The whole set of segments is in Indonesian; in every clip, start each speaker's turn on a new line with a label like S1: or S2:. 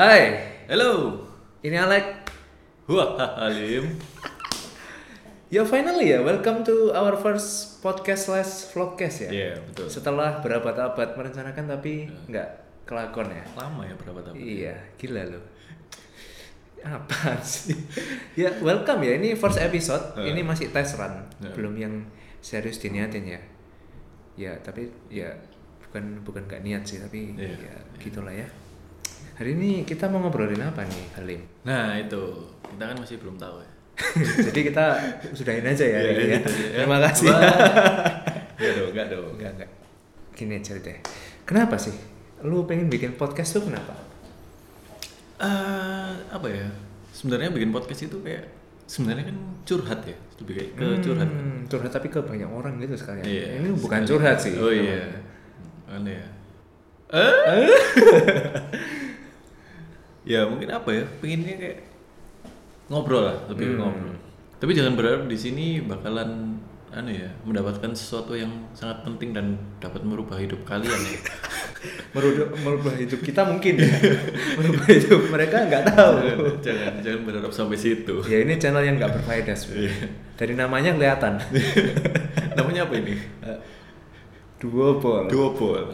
S1: Hai,
S2: Hello,
S1: ini Alek.
S2: wah Halim.
S1: Ya finally ya, welcome to our first podcast slash vlogcast ya.
S2: Iya betul. Iya.
S1: Setelah berabad-abad merencanakan tapi nggak kelakon ya.
S2: Lama ya berapa tahun?
S1: Iya, gila loh. Apa sih? ya welcome ya, ini first episode.
S2: Heeh.
S1: Ini masih test run,
S2: Heeh.
S1: belum yang serius diniatin ya. Ya tapi ya bukan bukan nggak niat sih tapi
S2: Iya,
S1: ya gitulah ya. Hari ini kita mau ngobrolin apa nih, Halim?
S2: Nah itu kita kan masih belum tahu ya.
S1: Jadi kita sudahin aja ya.
S2: Iya,
S1: hari ini ya.
S2: gitu ya.
S1: Terima kasih.
S2: Wah. Enggak dong, enggak dong.
S1: Enggak, enggak. Gini aja deh. Kenapa sih? Lu pengen bikin podcast tuh kenapa?
S2: Eh, apa ya? Sebenarnya bikin podcast itu kayak sebenarnya kan curhat ya, lebih kayak ke curhat.
S1: Hmm, curhat tapi ke banyak orang gitu sekalian.
S2: Iya.
S1: Ini bukan curhat sih.
S2: Oh
S1: teman. Eh?
S2: iya. Aneh ya. Eh? ya mungkin apa ya? Pengennya kayak ngobrol lah, lebih ke
S1: Hmm.
S2: ngobrol. Tapi jangan berharap di sini bakalan anu ya, mendapatkan sesuatu yang sangat penting dan dapat merubah hidup kalian ya.
S1: Merudu- merubah hidup kita mungkin ya. merubah hidup mereka nggak tahu.
S2: jangan, jangan jangan berharap sampai situ.
S1: ya ini channel yang nggak berfaedah
S2: Iya.
S1: sebenarnya. Dari namanya kelihatan.
S2: Namanya apa ini?
S1: Eh, Duo bol.
S2: Duopol.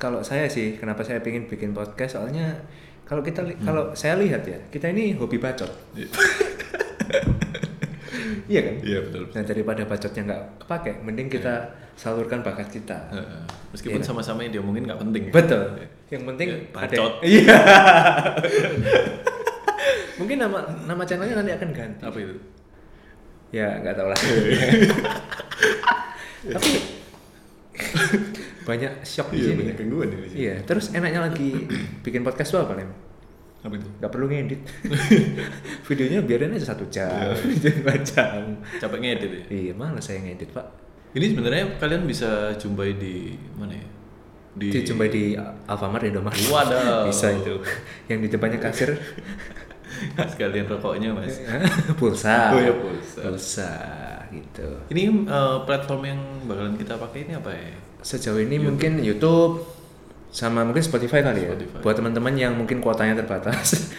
S1: Kalau saya sih, kenapa saya pengen bikin podcast? Soalnya kalau kita li- kalau saya lihat ya, kita ini hobi bacot.
S2: Hmm. Iya.
S1: iya kan?
S2: Iya betul.
S1: Nah daripada bacotnya nggak kepake, mending kita
S2: Iya.
S1: salurkan bakat kita.
S2: Heeh. Meskipun sama-sama yang diomongin nggak penting. ya.
S1: Iya. Betul. Yang penting
S2: Ya,
S1: ada-
S2: bacot.
S1: Iya. Mungkin nama nama channelnya nanti akan ganti.
S2: Apa itu?
S1: Ya nggak tahu lah. Tapi banyak shock di
S2: Iya
S1: sini.
S2: banyak
S1: ya.
S2: gangguan di sini.
S1: Iya. Terus enaknya lagi bikin podcast tuh apa nih?
S2: Apa itu?
S1: Gak perlu ngedit. Videonya biarin aja satu jam,
S2: Iya.
S1: dua jam.
S2: Capek ngedit ya.
S1: Iya, malah saya ngedit pak.
S2: Ini sebenarnya kalian bisa jumpai di mana ya? Di
S1: Dijumpai di Alfamart Indomaret.
S2: Waduh.
S1: Bisa itu. Yang di depannya kasir
S2: sekalian rokoknya
S1: Iya.
S2: mas.
S1: pulsa.
S2: Oh iya, pulsa.
S1: Pulsa gitu.
S2: Ini eh, platform yang bakalan kita pakai ini apa ya?
S1: Sejauh ini mungkin YouTube sama mungkin Spotify kali ya.
S2: Spotify.
S1: Buat teman-teman yang mungkin kuotanya terbatas,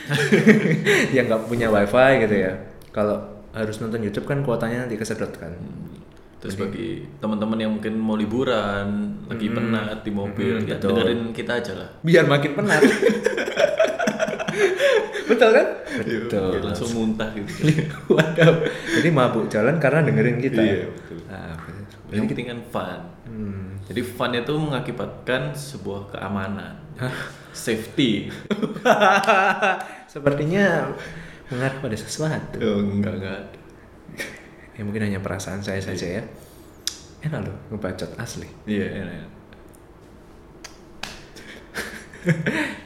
S1: yang nggak punya WiFi gitu ya. Kalau harus nonton YouTube kan kuotanya nanti kesedot kan.
S2: Hmm. Terus bagi teman-teman yang mungkin mau liburan, lagi penat di mobil, ya dengerin kita aja lah.
S1: Biar makin penat. Betul kan?
S2: Biar langsung muntah gitu.
S1: Waduh. Jadi mabuk jalan karena dengerin kita.
S2: Iya, betul.
S1: Nah, bener.
S2: yang penting kan fun. Jadi fun itu mengakibatkan sebuah keamanan, safety.
S1: Sepertinya mengarah pada sesuatu.
S2: Oh, enggak enggak.
S1: Ya mungkin hanya perasaan saya saja ya. Enak loh ngebacot asli.
S2: Iya, enak, enak.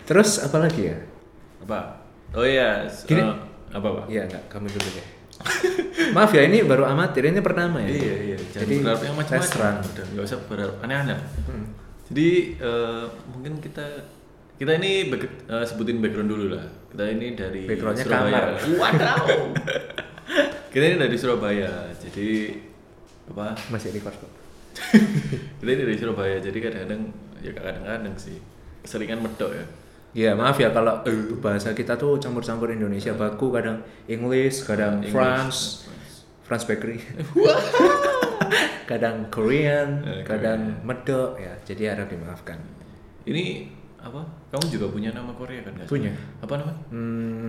S1: Terus apa lagi ya?
S2: Apa? Oh iya, s-
S1: Gini.
S2: eh, apa pak?
S1: Iya enggak, kamu dulu deh. Maaf ya, ini baru amatir, ini pertama ya.
S2: Iya iya. Jangan
S1: Jadi
S2: berharap yang
S1: test
S2: macam-macam.
S1: run. Hmm.
S2: Udah nggak usah berharap aneh-aneh. Jadi eh, mungkin kita kita ini back- eh, sebutin background dulu lah. Kita ini dari
S1: Backgroundnya
S2: Surabaya.
S1: kamar.
S2: Waduh. kita ini dari Surabaya. Jadi apa?
S1: Masih record kok.
S2: Kita ini dari Surabaya. Jadi kadang-kadang ya kadang-kadang sih keseringan medok ya.
S1: Iya, maaf ya kalau bahasa kita tuh campur-campur Indonesia baku, kadang English, kadang
S2: Iya. English,
S1: France, France Bakery. kadang Korean,
S2: Eh,
S1: kadang medok ya. Jadi harap dimaafkan.
S2: Ini apa? Kamu juga punya nama Korea kan? nggak sih?
S1: Punya.
S2: Apa namanya?
S1: Hmm.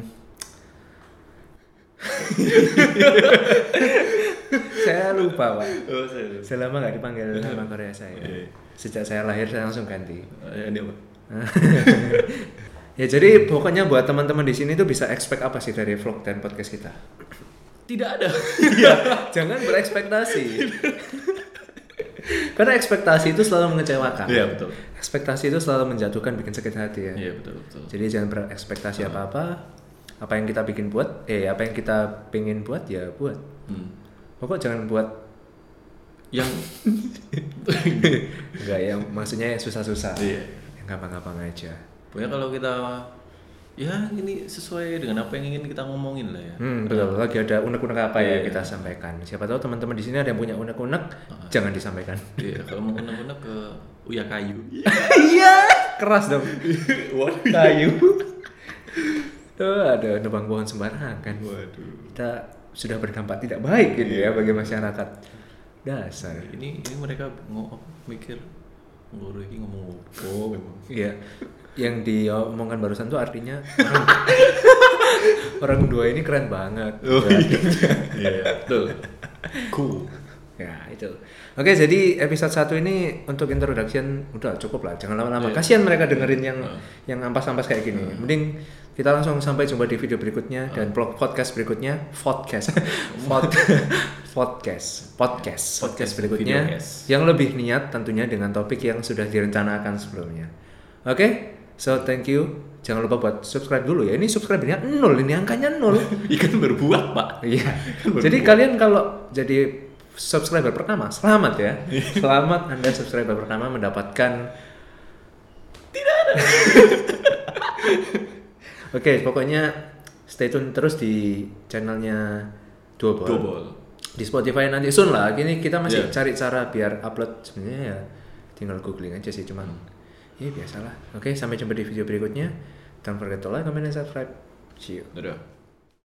S1: saya lupa, Pak.
S2: Oh, saya.
S1: Saya lama nggak dipanggil nama Korea saya.
S2: Iya.
S1: Sejak saya lahir saya langsung ganti.
S2: Ya, ini apa?
S1: ya
S2: Iya.
S1: jadi pokoknya buat teman-teman di sini tuh bisa expect apa sih dari vlog dan podcast kita?
S2: Tidak ada. Iya.
S1: Jangan berekspektasi. Karena ekspektasi itu selalu mengecewakan.
S2: Iya betul.
S1: Ekspektasi itu selalu menjatuhkan, bikin sakit hati ya.
S2: Iya Hmm. betul betul.
S1: Jadi jangan berekspektasi apa-apa. Apa yang kita bikin buat, eh apa yang kita pengen buat ya buat.
S2: Hmm.
S1: Pokok jangan buat
S2: Yang
S1: enggak ya, maksudnya yang susah-susah.
S2: Iya.
S1: Yang gampang-gampang aja.
S2: Pokoknya kalau kita ya ini sesuai dengan apa yang ingin kita ngomongin lah ya.
S1: Hmm, betul. Lagi ada unek-unek apa
S2: Iya,
S1: ya kita sampaikan. Siapa tahu teman-teman di sini ada yang punya unek-unek, jangan disampaikan.
S2: Iya, kalau mau unek-unek ke Uya Kayu.
S1: Iya, keras dong. Kayu. Oh, ada nebang pohon sembarangan.
S2: Waduh.
S1: Kita sudah berdampak tidak baik gitu ya bagi masyarakat. Dasar.
S2: Ini ini mereka ngomong mikir ngoro ini ngomong opo memang.
S1: Iya. Yang diomongkan barusan tuh artinya orang, orang dua ini keren banget. Ya.
S2: Iya, iya, betul. Cool.
S1: Ya, itu. Oke, jadi episode satu ini untuk introduction udah cukup lah. Jangan lama-lama. Kasihan mereka dengerin yang yang ampas-ampas kayak gini. Mending kita langsung sampai jumpa di video berikutnya dan blog podcast berikutnya, podcast. Pod, podcast, podcast, podcast berikutnya
S2: videocast.
S1: yang lebih niat tentunya dengan topik yang sudah direncanakan sebelumnya. Oke? So, thank you. Jangan lupa buat subscribe dulu ya. Ini subscribernya nol, ini angkanya nol.
S2: Ikan kan berbuat, Pak. Kan
S1: Iya. jadi kalian kalau jadi subscriber pertama, selamat ya. Selamat Anda subscriber pertama mendapatkan tidak ada. Oke, pokoknya stay tune terus di channelnya Duobol.
S2: Double.
S1: Di Spotify nanti soon lah. Ini kita masih
S2: Iya.
S1: cari cara biar upload sebenarnya ya tinggal googling aja sih cuman. Ya biasalah. Oke, sampai jumpa di video berikutnya. Don't forget to like, comment, and subscribe. See you.
S2: Dadah.